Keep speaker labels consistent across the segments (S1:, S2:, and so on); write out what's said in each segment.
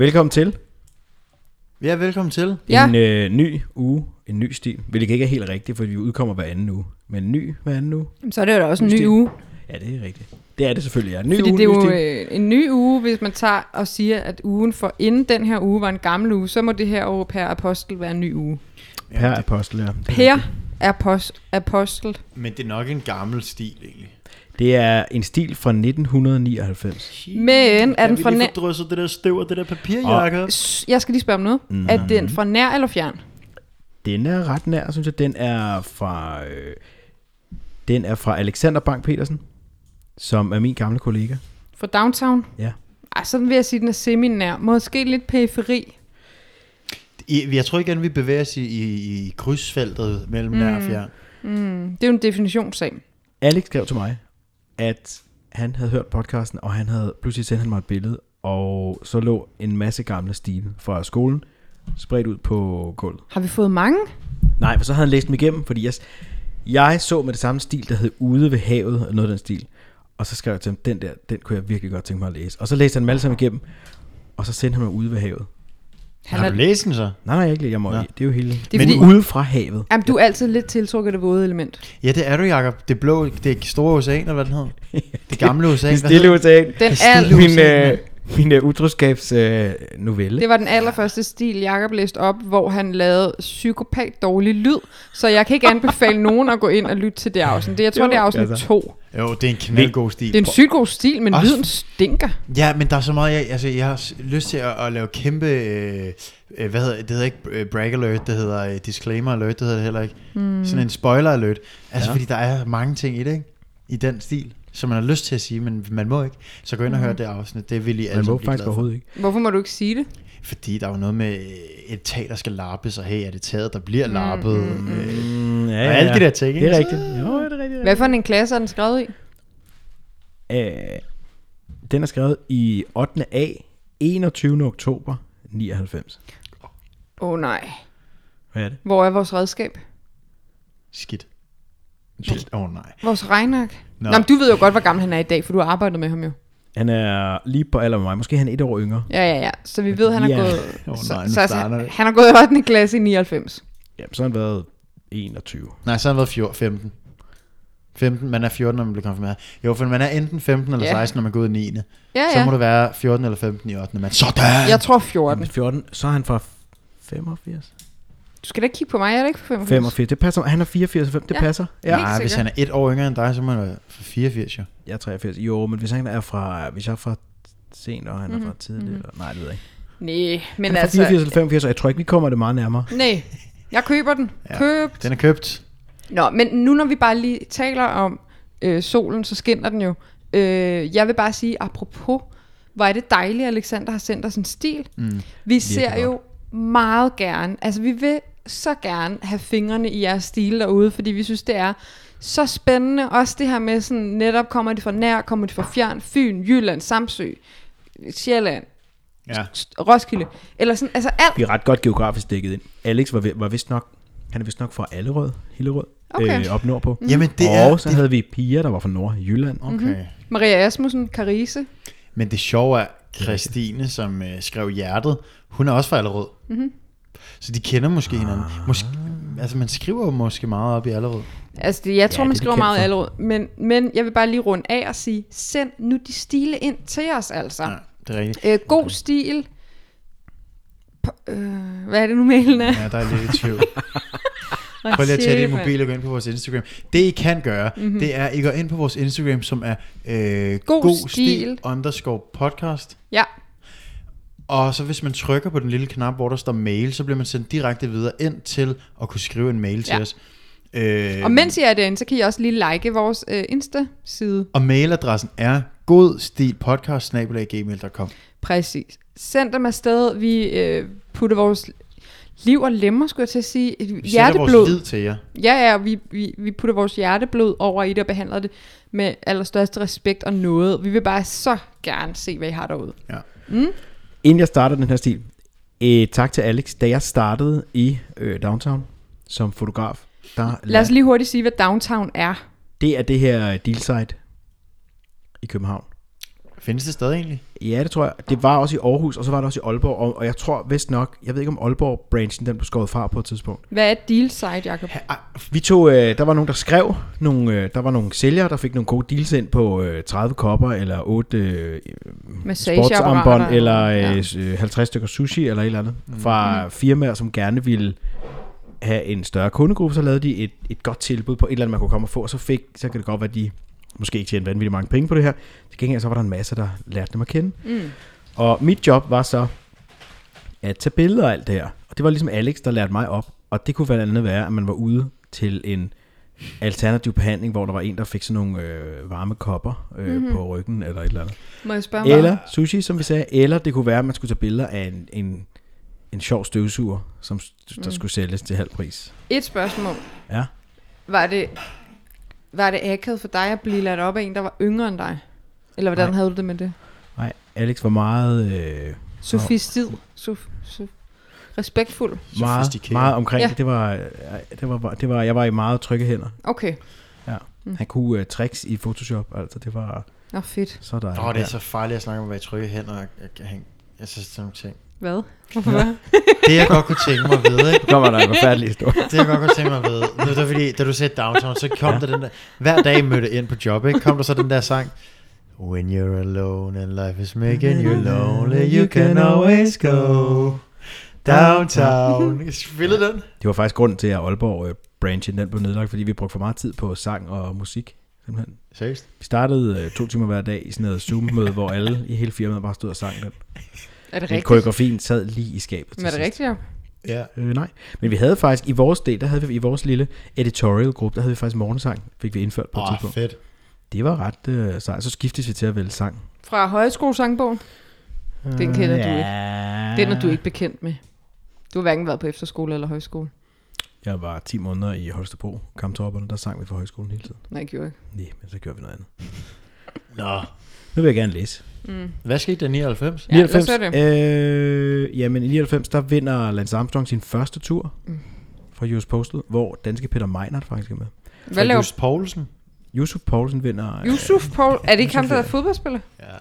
S1: Velkommen til
S2: Ja, velkommen til.
S3: Ja.
S1: en øh, ny uge, en ny stil, hvilket ikke er helt rigtigt, for vi udkommer hver anden uge. Men en ny hver anden uge,
S3: Jamen, Så er det jo da også en ny
S1: Stil.
S3: uge.
S1: ja det er rigtigt. Det er det selvfølgelig, ja. En ny
S3: Fordi
S1: uge,
S3: det
S1: ny
S3: er jo
S1: stil.
S3: øh, en ny uge, hvis man tager og siger, at ugen for inden den her uge var en gammel uge, så må det her år per apostel være en ny uge.
S1: Per apostel, ja.
S3: øh, Per apost, apostel.
S2: Men det er nok en gammel stil, egentlig.
S1: Det er en stil fra 1999.
S3: Men er
S2: Kan
S3: den
S2: vi
S3: fra
S2: lige
S3: nær...
S2: få drysset det der støv og det der papirjakke? op?
S3: S- Jeg skal lige spørge om noget. Mm.
S2: Mhm.
S3: Er den fra nær eller fjern?
S1: Den er ret nær, synes jeg. Den er fra, øh, den er fra Alexander Bang Petersen, som er min gamle kollega.
S3: Fra downtown?
S1: Ja.
S3: Ej, sådan vil jeg sige, den er seminær. Måske lidt periferi.
S2: I, jeg tror igen, vi bevæger os i, i, i krydsfeltet mellem mm. nær og fjern.
S3: Det er jo en definitionssag.
S1: Alex skrev til mig, at han havde hørt podcasten, og han havde pludselig sendt han mig et billede, og så lå en masse gamle stile fra skolen spredt ud på gulvet.
S3: Har vi fået mange?
S1: Nej, for så havde han læst dem igennem, fordi jeg, jeg så med det samme stil, der hed Ude ved havet, og noget af den stil. Og så skrev jeg til ham, den der, den kunne jeg virkelig godt tænke mig at læse. Og så læste han dem alle sammen igennem, og så sendte han mig Ude ved havet.
S3: Han
S2: Har
S3: er,
S2: du læst den så?
S1: Nej, nej, ikke lige. Jeg må, ja. Det er jo hele... Det
S3: er
S1: er Men
S3: fordi-
S1: ude fra havet.
S3: jamen, du er altid lidt tiltrukket af det våde element.
S2: Ja, det er du, Jacob. Det blå, det store ocean, eller hvad den hedder? Det gamle ocean.
S1: Det
S2: hvad
S1: stille
S2: hedder
S1: ocean.
S3: Den
S2: stille
S3: er,
S1: Min, øh, min øh, utroskabs øh, novelle.
S3: det var den allerførste stil, Jakob læste op, hvor han lavede psykopat dårlig lyd. Så jeg kan ikke anbefale nogen at gå ind og lytte til det afsnit. Det, jeg tror,
S1: Jo,
S3: det er afsnit
S1: altså.
S3: 2.
S2: det? Jo, det er en knaldgod stil.
S3: Det er en sygt god stil, men
S2: Også-
S3: lyden stinker.
S2: Ja, men der er så meget, jeg, altså, jeg har s- lyst til at, at lave kæmpe, øh, øh, hvad hedder, det hedder ikke øh, brag alert, det hedder øh, disclaimer alert, det hedder det heller ikke.
S3: Hmm.
S2: Mm. Sådan en spoiler alert. Altså, ja. fordi der er mange ting i det, ikke? I den stil, som man har lyst til at sige, men man må ikke. Så gå ind og hør
S3: Hmm.
S2: det afsnit, det vil I alle
S1: Man må
S2: sammen blive
S1: faktisk
S2: glade for.
S1: overhovedet ikke.
S3: Hvorfor må du ikke sige det?
S2: Fordi der er jo noget med øh, et tag, der skal lappes, og hey, er det taget, der
S3: Hmm.
S2: bliver lappet? Mm, mm, øh,
S1: Mm, ja,
S2: Og alle de der ting,
S1: Det
S2: ikke?
S1: er rigtigt. Jo, det er rigtigt.
S3: Hvad for en klasse er den skrevet i?
S1: Øh, den er skrevet i 8. A, 21. oktober 99.
S3: Åh oh, nej.
S1: Hvad er det?
S3: Hvor er vores redskab?
S2: Skidt. Shit, åh oh, nej.
S3: Vores regnark?
S2: Nå.
S3: Nå. Nå, men du ved jo godt, hvor gammel han er i dag, for du har arbejdet med ham jo.
S1: Han er lige på alder med mig. Måske er han et år yngre.
S3: Ja, ja, ja. Så vi ved, at han har
S1: Ja.
S3: gået...
S2: Åh,
S3: så,
S2: nej, nu
S3: så altså,
S2: starter det.
S3: han har gået i 8. klasse i 99.
S1: Jamen, så har han været 21.
S2: Nej, så har han været 14, 15. 15, man er 14, når man bliver konfirmeret. Jo, for man er enten 15 eller
S3: Ja.
S2: 16, når man går ud i 9. Ja,
S3: Ja,
S2: Så
S3: ja.
S2: må det være 14 eller 15 i 8. Man. Sådan!
S3: Jeg tror 14.
S1: 14, så er han fra 85.
S3: Du skal da ikke kigge på mig, jeg er da ikke på 85.
S1: 85, det passer. Han er 84 og 5, det
S3: Ja.
S1: passer. Ja.
S3: Helt
S2: Ja, hvis han
S3: sikkert.
S2: er et år yngre end dig, så må han være fra 84, jo.
S1: Jeg er 83. Jo, men hvis han er fra, hvis jeg er fra sent, og han er fra tidligt, eller, nej, det ved jeg ikke.
S3: Nej, men
S1: Han er fra
S3: altså...
S1: 84 eller 85, og jeg tror ikke, vi kommer det meget nærmere.
S3: Nej, jeg køber den.
S2: Ja.
S3: Ja. Køb.
S2: Den er købt.
S3: Nå, men nu når vi bare lige taler om øh, solen, så skinner den jo. Øh, jeg vil bare sige, apropos, hvor er det dejligt, at Alexander har sendt os en stil. Mm, vi ser
S1: godt.
S3: jo meget gerne, altså vi vil så gerne have fingrene i jeres stil derude, fordi vi synes, det er så spændende. Også det her med sådan, netop kommer det fra nær, kommer det fra fjern, Fyn, Jylland, Samsø, Sjælland,
S2: Ja.
S3: Roskilde, eller sådan, altså alt.
S1: Vi er ret godt geografisk dækket ind. Alex var, vi- var vist nok, han er vist nok fra Allerød, Hillerød,
S3: Okay.
S1: øh, op nordpå.
S2: Jamen, det Mm. er...
S1: og så havde vi piger, der var fra Nordjylland.
S3: Mhm.
S1: Okay.
S2: Okay.
S3: Maria Asmussen, Carise,
S2: Men det sjove er, Christine, som øh, skrev Hjertet, hun er også fra Allerød. Mm-hmm.
S3: Mhm.
S2: Så de kender måske hinanden. Måske, altså, man skriver jo måske meget op i Allerød.
S3: Altså, det, jeg tror,
S1: det
S3: ja,
S1: er
S3: man
S1: de
S3: skriver
S1: kendt
S3: meget
S1: for.
S3: allerede. Men, men jeg vil bare lige runde af og sige, send nu de stile ind til os, altså.
S2: Ja, det er rigtigt.
S3: Ja. Øh, god stil. P- øh, hvad er det nu, mailen er?
S2: Ja, der er lidt i tvivl. Prøv lige at tage din mobil og gå ind på vores Instagram. Det I kan gøre, mm-hmm. det er, at I går ind på vores Instagram, som er øh,
S3: Mhm. God
S2: god stil
S3: stil.
S2: underscore podcast.
S3: Ja,
S2: Og så hvis man trykker på den lille knap, hvor der står mail, så bliver man sendt direkte videre ind til at kunne skrive en mail til
S3: Ja.
S2: os. Øh,
S3: og mens I er derinde, så kan I også lige like vores øh, Insta-side.
S2: og mailadressen er godstilpodcast.gmail.com
S3: Præcis. Send dem afsted. Vi øh, putter vores liv og lemmer, skulle jeg til at sige.
S2: Vi sender vores
S3: Hjerteblod.
S2: lid til jer.
S3: Ja, ja, og vi, vi, vi putter vores hjerteblod over i det og behandler det med allerstørste respekt og noget. Vi vil bare så gerne se, hvad I har derude.
S2: Ja.
S1: Inden jeg starter den her stil, øh, tak til Alex. Da jeg startede i øh, Downtown som fotograf, der
S3: Lad os lige hurtigt sige, hvad downtown er.
S1: det er det her øh, deal site i København.
S2: Findes det stadig egentlig?
S1: Ja, det tror jeg. Det var også i Aarhus, og så var det også i Aalborg, og, og jeg tror vist nok, jeg ved ikke om Aalborg-branchen, den blev skåret fra på et tidspunkt.
S3: Hvad er et deal site, Jacob?
S1: Ah, Vi tog, øh, der var nogen, der skrev, nogle, øh, der var nogle sælgere, der fik nogle gode deals ind på øh, 30 kopper, eller 8 øh, sportsarmbånd,
S3: Massageapparater.
S1: eller
S3: Ja.
S1: øh, s- øh, 50 stykker sushi, eller et eller andet, mm. fra firmaer, som gerne ville have en større kundegruppe, så lavede de et, et godt tilbud på et eller andet, man kunne komme og få, og så, fik, så kan det godt være, at de måske ikke tjente vanvittigt mange penge på det her. Til gengæld så var der en masse, der lærte dem at kende.
S3: Mm.
S1: Og mit job var så at tage billeder af alt det her. Og det var ligesom Alex, der lærte mig op. Og det kunne blandt andet være, at man var ude til en alternativ behandling, hvor der var en, der fik sådan nogle øh, varme kopper øh, mm-hmm. på ryggen eller et eller andet.
S3: Må jeg spørge mig?
S1: Eller sushi, som vi sagde. Eller det kunne være, at man skulle tage billeder af en, en, en sjov støvsuger, som s- der skulle sælges til halv pris.
S3: Et spørgsmål.
S1: Ja.
S3: Var det, var det akavet for dig at blive ladt op af en, der var yngre end dig? Eller hvordan
S1: Nej.
S3: Nej. havde du det med det?
S1: Nej, Alex var meget, øh,
S3: Sofistid. Sof, sof, respektfuld.
S1: meget,
S2: Sofistikeret.
S1: meget omkring
S3: Ja.
S1: ja. det. Var, øh, det, var, det var, jeg var i meget trygge hænder.
S3: Okay.
S1: Han kunne uh, tricks i Photoshop, altså det var
S3: Nå, fedt.
S1: så der.
S2: Åh, oh, det er så farligt at snakke om, hvad jeg trykker hænder og og- og hænge. Jeg synes, sådan nogle ting.
S3: Hvad? Hvorfor? hvad?
S2: Det, jeg godt kunne tænke mig at vide, ikke?
S1: Nu kommer der en forfærdelig historie.
S2: Det, jeg godt kunne tænke mig at vide. Det var fordi, da du sagde downtown, så kom ja. der den der... Hver dag I mødte ind på job, ikke? Kom der så den der sang. When you're alone and life is making you lonely, you can always go downtown. Jeg spillede den.
S1: Det var faktisk grunden til, at Aalborg øh, branchen den blev nedlagt, fordi vi brugte for meget tid på sang og musik. Simpelthen.
S2: Seriøst?
S1: Vi startede øh, to timer hver dag i sådan noget Zoom-møde, hvor alle i hele firmaet bare stod og sang den.
S3: Er det
S1: Men
S3: rigtigt?
S1: koreografien sad lige i skabet. til
S3: Men er det
S1: sidst.
S3: rigtigt, ja?
S2: Ja.
S1: Øh, nej. Men vi havde faktisk, i vores del, der havde vi i vores lille editorial-gruppe, der havde vi faktisk morgensang, fik vi indført på et
S2: Åh, oh,
S1: tidspunkt.
S2: fedt.
S1: Det var ret øh, sejt. Så skiftes vi til at vælge sang.
S3: Fra højskolesangbogen? Den kender du ikke.
S1: Øh, Ja.
S3: Den er du ikke bekendt med. Du har hverken været på efterskole eller højskole.
S1: Jeg var 10 måneder i Holstebro, kamptopperne, der sang vi for højskolen hele tiden.
S3: Nej, jeg gjorde ikke.
S1: Nej, men så gjorde vi noget andet.
S2: Nå.
S1: Nu vil jeg gerne læse.
S2: Hvad skete der i 99?
S3: Ja, lad os høre
S1: øh, jamen i 99, der vinder Lance Armstrong sin første tur
S3: Mm.
S1: fra US Postal, hvor danske Peter Meinert faktisk er med.
S3: Hvad laver
S2: Just Poulsen?
S1: Yusuf Poulsen vinder...
S3: Yusuf Paul? Er det ikke ham, der
S1: Yusuf,
S3: er fodboldspiller?
S2: Ja.
S1: Øh,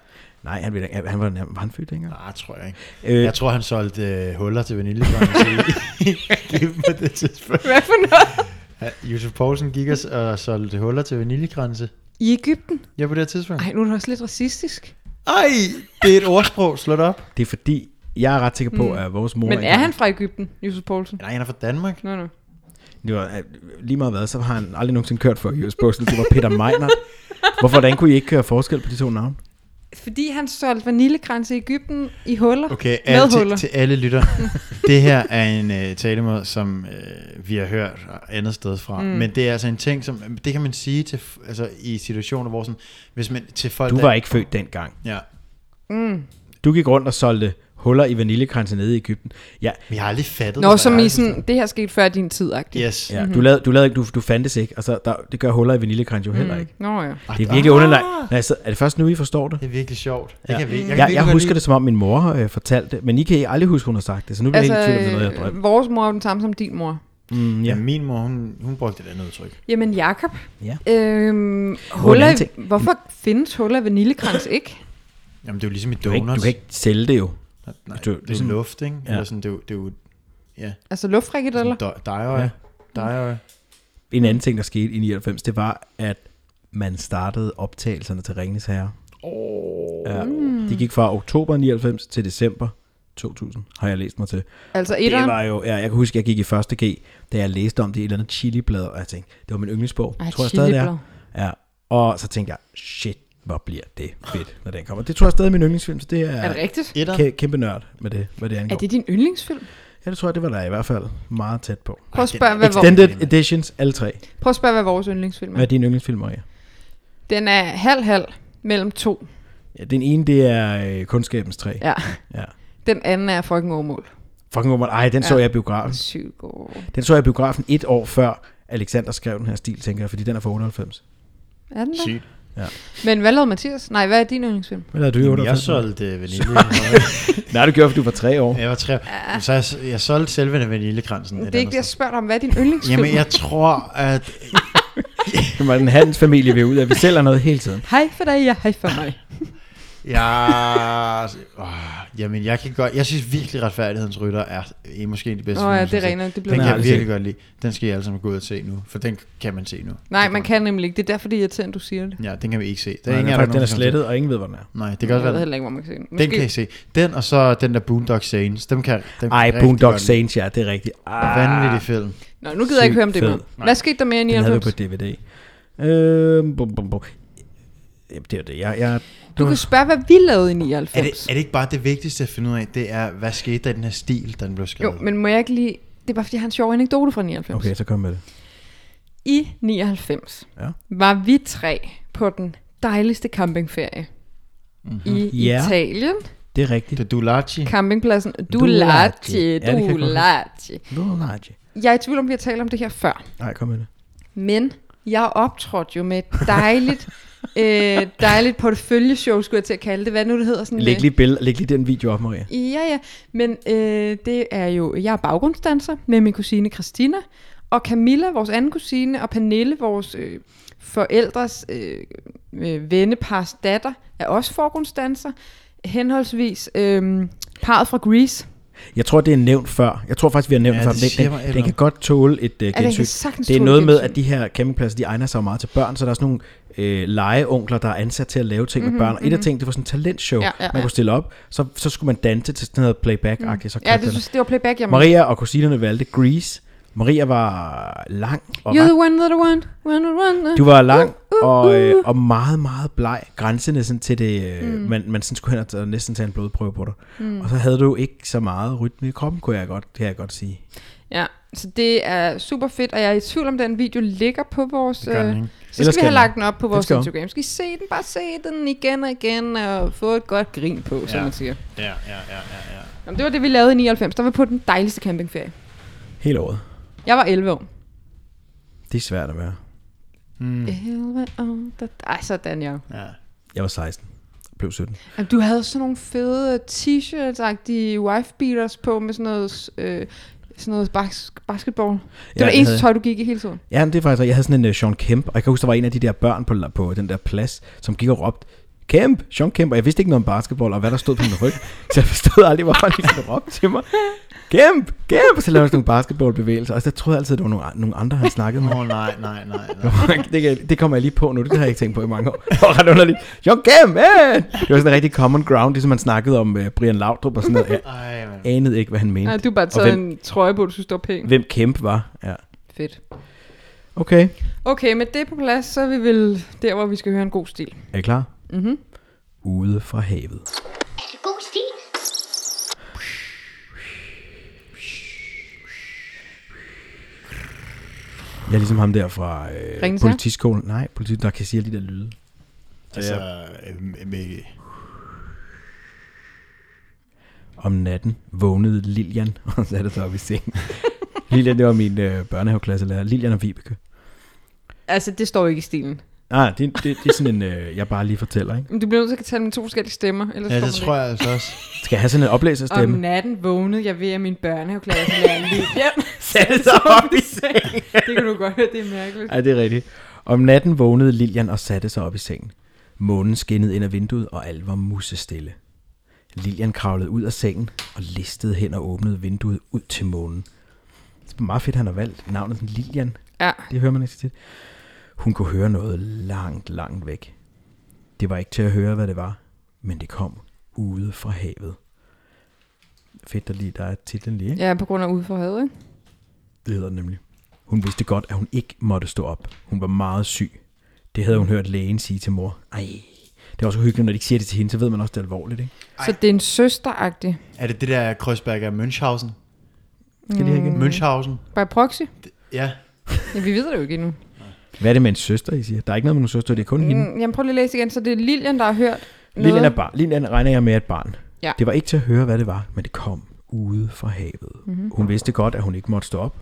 S1: nej, han, vinder, han, var, var han født dengang?
S2: Nej, tror jeg ikke.
S1: Øh,
S2: Jeg tror, han solgte øh, huller til vaniljebørn på det tidspunkt.
S3: Hvad for noget?
S2: Ja, Josef Poulsen gik og, s- og solgte huller til vaniljekranse.
S3: I Ægypten?
S2: Ja, på det her tidspunkt.
S3: Ej, nu er det også lidt racistisk.
S2: Ej, det er et ordsprog. Slå det op.
S1: det er fordi, jeg er ret sikker på, at vores mor...
S3: Mm. Men
S1: ikke
S3: er
S1: har-
S3: han fra Ægypten, Yusuf Poulsen?
S2: Nej, han er fra Danmark.
S3: Nå, nå.
S1: Det var, øh, lige meget hvad, så har han aldrig nogensinde kørt for US Postal. Det var Peter Meinert. Hvorfor hvordan kunne I ikke køre forskel på de to navne?
S3: Fordi han solgte vaniljekranse i Ægypten i huller.
S2: Okay,
S3: med
S2: alle,
S3: huller.
S2: til, til alle lytter. det her er en øh, talemåde, som øh, vi har hørt andet sted fra. Mm. Men det er altså en ting, som det kan man sige til, f- altså, i situationer, hvor sådan, hvis man til folk...
S1: Du
S2: der-
S1: var ikke født dengang.
S2: Ja,
S1: Du gik rundt og solgte huller i vaniljekranse nede i Ægypten. Ja,
S2: men jeg har aldrig fattet
S3: Nå,
S2: hvad
S3: som
S2: der
S3: i
S2: er.
S3: sådan, det her skete før din tid, agtigt.
S2: Yes.
S1: ja. Mm-hmm. Du, lavede, du, lavede ikke, du, du fandtes ikke. Altså, der, det gør huller i vaniljekranse jo heller ikke.
S3: Nå ja.
S1: Det er virkelig underlagt. Nej, så er det først nu, I forstår det?
S2: Det er virkelig sjovt. Det kan vi, jeg, kan
S1: Jeg,
S2: virkelig
S1: jeg
S2: godt
S1: husker
S2: lide-
S1: det, som om min mor øh, fortalte det, men I kan aldrig huske, hun har sagt det, så nu bliver altså,
S3: Altså,
S1: jeg helt i tvivl om, det er noget, jeg drømte.
S3: øh, vores mor er jo den samme som din mor.
S1: Mm,
S2: Ja,
S1: ja.
S2: min mor, hun, hun brugte et andet udtryk.
S3: Jamen, Jakob.
S1: Ja.
S3: Øhm, huller,
S1: anden
S3: i- hvorfor findes huller i vaniljekrans ikke?
S2: Jamen, det er jo ligesom i
S1: Du,
S2: donuts.
S1: kan ikke, du kan ikke sælge det jo.
S2: Nej,
S1: du-
S2: det, er jo
S1: sådan-
S2: luft, ikke?
S1: Ja.
S2: Eller sådan, det er jo, det er jo
S3: Altså luftfrikadeller?
S2: sådan dej- dejøje.
S1: Ja.
S2: Ja. Dejøje.
S1: En anden ting, der skete i 99, det var, at man startede optagelserne til Ringens Herre. Oh. Ja, de gik fra oktober 99 til december 2000, har jeg læst mig til.
S3: Altså
S1: Det
S3: etteren?
S1: var jo, ja, jeg kan huske, jeg gik i 1. G, da jeg læste om det i et eller andet chiliblad, og jeg tænkte, det var min yndlingsbog,
S3: Ej,
S1: tror jeg stadig det er.
S3: chiliblad.
S1: Ja, og så tænkte jeg, shit, hvor bliver det fedt, når den kommer. Det tror jeg stadig er min yndlingsfilm, så det er,
S3: Er det rigtigt?
S2: Etter.
S1: kæ- kæmpe nørd med det, hvad det angår.
S3: Er det din yndlingsfilm?
S1: Ja, det tror jeg, det var der i hvert fald meget tæt på.
S3: Prøv at spørge, hvad, vor,
S1: Extended Editions, alle tre.
S3: prøv at spørge, hvad vores yndlingsfilm
S1: Hvad
S3: er.
S1: er din yndlingsfilm, Maria?
S3: Den er halv-halv mellem to.
S1: Ja, den ene, det er øh, Kundskabens træ.
S3: Ja.
S1: ja.
S3: Den anden er fucking overmål.
S1: Fucking woman. Ej, den så
S3: Ja.
S1: jeg i biografen.
S3: Sygt god.
S1: Den så jeg i biografen et år før Alexander skrev den her stil, tænker jeg, fordi den er fra 98.
S3: Er den der?
S2: Sygt.
S3: Men hvad lavede Mathias? Nej, hvad er din yndlingsfilm?
S1: Hvad lavede du i
S2: Jamen,
S1: 98?
S2: jeg solgte øh, vanilje.
S1: Nej, du gjorde, fordi du var tre år.
S2: jeg var tre. Så jeg, jeg solgte selve vaniljekransen. et
S3: Det er ikke
S2: andet
S3: det, jeg spørger dig om. Hvad er din
S2: sted.
S3: yndlingsfilm?
S2: Jamen, jeg tror, at...
S1: Det var en handelsfamilie, vi er ude af. Vi sælger noget hele tiden.
S3: Hej for dig, ja, hej for mig.
S2: Jeg, åh, jamen, jeg kan godt... Jeg synes virkelig, retfærdighedens rytter er øh, måske en af de bedste.
S3: Nå ja,
S2: film, jeg
S3: det
S2: har set.
S3: regner, det
S2: Den
S1: Nej,
S3: bliver
S2: kan jeg
S1: aldrig
S2: virkelig godt lide. Den skal I alle sammen gå ud og se nu, for den kan man se nu.
S3: Nej, man kan nemlig ikke. Det er derfor, det er irriterende, du siger det.
S2: Ja, den kan vi ikke se. Der
S1: Den er,
S2: ingen af
S1: Nej,
S2: jer,
S1: faktisk,
S2: der
S1: den er
S2: nogensinde har
S1: slettet, og ingen ved, hvor den er.
S2: set. Nej, det kan
S3: Jeg
S2: også
S3: ved
S2: være.
S3: heller ikke, hvor man kan se den.
S2: Den kan I se. Den og så den der Boondock Saints. Dem kan dem kan jeg
S1: Ej,
S2: rigtig
S1: Boondock
S2: godt lide.
S1: Saints, ja, det er rigtigt. Ah,
S2: Vanvittig film.
S3: Nå, nu gider jeg ikke høre om det.
S1: Sygt
S3: mere.
S1: fed.
S3: Hvad skete der mere i
S1: den havde vi
S3: 99?
S1: på DVD. Øhm, bum, bum, bum. Jamen, det er det. Jeg, jeg,
S3: Du kan spørge, hvad vi lavede i 99.
S2: Er det, er det ikke bare det vigtigste at finde ud af, det er, hvad skete der i den her stil, da den blev skrevet?
S3: Jo, men må jeg ikke lige... Det er bare, fordi jeg har en sjov anekdote fra 99.
S1: Okay, så kom med det.
S3: I 99
S1: Ja.
S3: var vi tre på den dejligste campingferie
S2: Mhm.
S3: mm-hmm. i
S1: Ja.
S3: Italien.
S1: Det er rigtigt.
S2: Det er Dulaci.
S3: Campingpladsen
S1: Dulacci. Ja,
S3: Dulacci,
S1: det kan jeg godt
S3: Dulacci.
S1: Nå, nej, Jay.
S3: Jeg er i tvivl om, vi har talt om det her før,
S1: Nej, kom med det.
S3: men jeg optrådte jo med et dejligt, øh, dejligt porteføljeshow, skulle jeg til at kalde det. Hvad nu det hedder? Sådan
S1: Læg
S3: øh,
S1: lige, billed, læg lige den video op, Maria.
S3: Ja, ja, men øh, det er jo, jeg er baggrundsdanser med min kusine Christina, og Camilla, vores anden kusine, og Pernille, vores øh, forældres øh, øh, vennepars datter, er også forgrundsdanser, henholdsvis øh, parret fra Greece.
S1: Jeg tror, det er nævnt før. Jeg tror faktisk, vi har nævnt
S2: Ja,
S1: før.
S2: det
S1: Den,
S2: siger mig et
S1: den,
S2: eller
S1: den kan godt tåle et uh,
S3: kan
S1: gensyn.
S3: sagtens
S1: det er
S3: tåle
S1: noget med,
S3: gensyn.
S1: at de her campingpladser, de egner sig jo meget til børn, så der er sådan nogle øh, legeunkler, der er ansat til at lave ting med børn. Og et af tingene, det var sådan en talentshow,
S3: Mhm, Ja, ja, ja. Mm.
S1: man kunne stille op. Så, så skulle man danse til sådan noget playback-agtigt. Så
S3: Ja,
S1: kørte
S3: det,
S1: den.
S3: synes, det var playback, jeg
S1: Maria og kusinerne valgte Grease. Maria var lang og
S3: You're
S1: ret
S3: the one, that I want, one, one, one.
S1: Du var lang og, øh, og meget, meget bleg. Grænsende sådan til det, øh, man, man sådan skulle hen og t- og næsten tage en blodprøve på dig. Mm. Og så havde du ikke så meget rytme i kroppen, kunne jeg godt, kan jeg godt sige.
S3: Ja, så det er super fedt, og jeg er i tvivl om, den video ligger på vores...
S2: Det gør den
S3: øh,
S2: ikke.
S3: så
S1: Ellers
S3: skal vi have
S1: skal den.
S3: lagt den op på
S1: Den
S3: vores
S1: skal op.
S3: Instagram. Skal I se den? Bare se den igen og igen, og få et godt grin på, ja. som
S2: Ja.
S3: man siger.
S2: Ja, ja, ja, ja, ja.
S3: Jamen, det var det, vi lavede i 99. Der var vi på den dejligste campingferie.
S1: Hele året.
S3: Jeg var 11 år.
S1: Det er svært at være.
S3: Mm. 11 år. Da, ej, sådan jeg.
S2: ja.
S1: Jeg var 16. Blev 17.
S3: Jamen, du havde sådan nogle fede t-shirts-agtige wife beaters på med sådan noget, øh, sådan noget bas- basketball. Det
S1: Ja,
S3: ja, var
S1: det
S3: det eneste
S1: havde
S3: tøj, du gik i hele tiden.
S1: Ja, men det er faktisk, jeg havde sådan en uh, Sean Kemp, og jeg kan huske, der var en af de der børn på, på den der plads, som gik og råbte, Kemp, Sean Kemp, og jeg vidste ikke noget om basketball, og hvad der stod på min ryg, så jeg forstod aldrig, hvorfor han ligesom råbte til mig, Kemp, Kemp, og så lavede han sådan nogle basketballbevægelser, og så troede jeg altid, at det var nogle, nogle andre, han snakkede med.
S2: Åh, oh, nej, nej, nej, nej.
S1: det, kan, det kommer jeg lige på nu, det har jeg ikke tænkt på i mange år. Det var ret underligt. Sean Kemp, man! Det var sådan en rigtig common ground, ligesom han snakkede om uh, Brian Laudrup og sådan noget. Jeg
S2: Ej, man.
S1: anede ikke, hvad han mente.
S3: Nej, du bare
S1: og
S3: taget
S1: hvem,
S3: en trøje på, du synes, det var pænt.
S1: hvem Kemp var. Ja.
S3: Fedt.
S1: Okay,
S3: Okay, med det på plads, så er vi vel der, hvor vi skal høre en god stil.
S1: er I klar? Mm-hmm.
S3: Mhm.
S1: Ude fra havet.
S4: God stil.
S1: Jeg er ligesom ham der fra øh,
S3: Ringens Herre?
S1: politiskolen. Nej, politi- der kan sige alle de der lyde.
S2: Altså, øh, med,
S1: Om natten vågnede Lilian og satte sig op i sengen. Lilian, det var min øh, børnehaveklasselærer. Lilian og Vibeke.
S3: Altså, det står ikke i stilen.
S1: Nej, det, det, det er sådan en, øh, jeg bare lige fortæller, ikke?
S3: Men du bliver nødt til at tage dem i to forskellige stemmer, ellers
S2: ja,
S3: får
S2: det
S3: man
S2: tror jeg altså også.
S1: Skal jeg have sådan en oplæserstemme?
S3: Om natten vågnede jeg ved, at min børnehaveklasse lærte lige hjem.
S1: Sætte sig op i sengen.
S3: Det kan du godt høre, det er mærkeligt.
S1: Ej, det er rigtigt. Om natten vågnede Lilian og satte sig op i sengen. Månen skinnede ind ad vinduet, og alt var musestille. Lilian kravlede ud af sengen og listede hen og åbnede vinduet ud til månen. Det er meget fedt, han har valgt navnet sådan Lilian.
S3: Ja,
S1: Det hører man ikke så tit. Hun kunne høre noget langt, langt væk. Det var ikke til at høre, hvad det var, men det kom ude fra havet. Fedt, der lige der er titlen lige, ikke?
S3: ja på grund af udforhavet, ikke?
S1: Det hedder den nemlig. Hun vidste godt, at hun ikke måtte stå op. Hun var meget syg. Det havde hun hørt lægen sige til mor. Ej, det er også hyggeligt, når de ikke siger det til hende, så ved man også, det er alvorligt, ikke?
S3: Så det er en søsteragtig.
S2: Er det det der Kreuzberg af Münchhausen?
S1: Skal de have
S3: Mhm.
S1: igen?
S2: Münchhausen?
S3: By proxy?
S2: Ja.
S3: Ja, vi ved det jo ikke endnu.
S1: Hvad er det med en søster, I siger? Der er ikke noget med nogen søster, det er kun mm. hende.
S3: Mm, jamen, prøv lige at læse igen, så det er Lilian, der har hørt noget.
S1: Lillian, er bar- Lillian regner jeg med et barn.
S3: Ja.
S1: Det var ikke til at høre, hvad det var, men det kom ude fra havet.
S3: Mhm.
S1: Mm-hmm. Hun vidste godt, at hun ikke måtte stå op.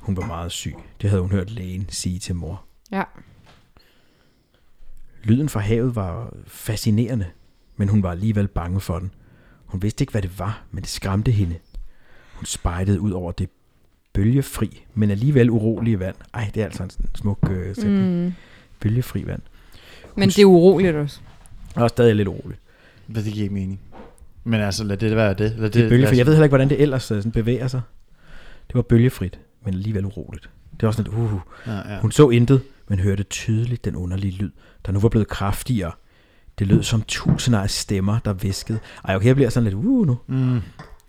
S1: Hun var meget syg. Det havde hun hørt lægen sige til mor.
S3: Ja.
S1: Lyden fra havet var fascinerende, men hun var alligevel bange for den. Hun vidste ikke, hvad det var, men det skræmte hende. Hun spejtede ud over det bølgefri, men alligevel urolige vand. Ej, det er altså en sådan smuk øh, sætning. Mm. Bølgefri vand.
S3: Men det er uroligt også.
S1: Og stadig lidt uroligt.
S2: Hvad, det giver ikke mening. Men altså, lad det være det. Lad
S1: Det er bølgefrit.
S2: være
S1: Jeg ved heller ikke, hvordan det ellers øh, sådan bevæger sig. Det var bølgefrit, men alligevel uroligt. Det var sådan lidt, uh,
S2: sådan. Ja, ja.
S1: Hun så intet, men hørte tydeligt den underlige lyd, der nu var blevet kraftigere. Det lød som tusinder af stemmer, der viskede. Ej, okay, jeg bliver sådan lidt uh nu.
S2: Mm.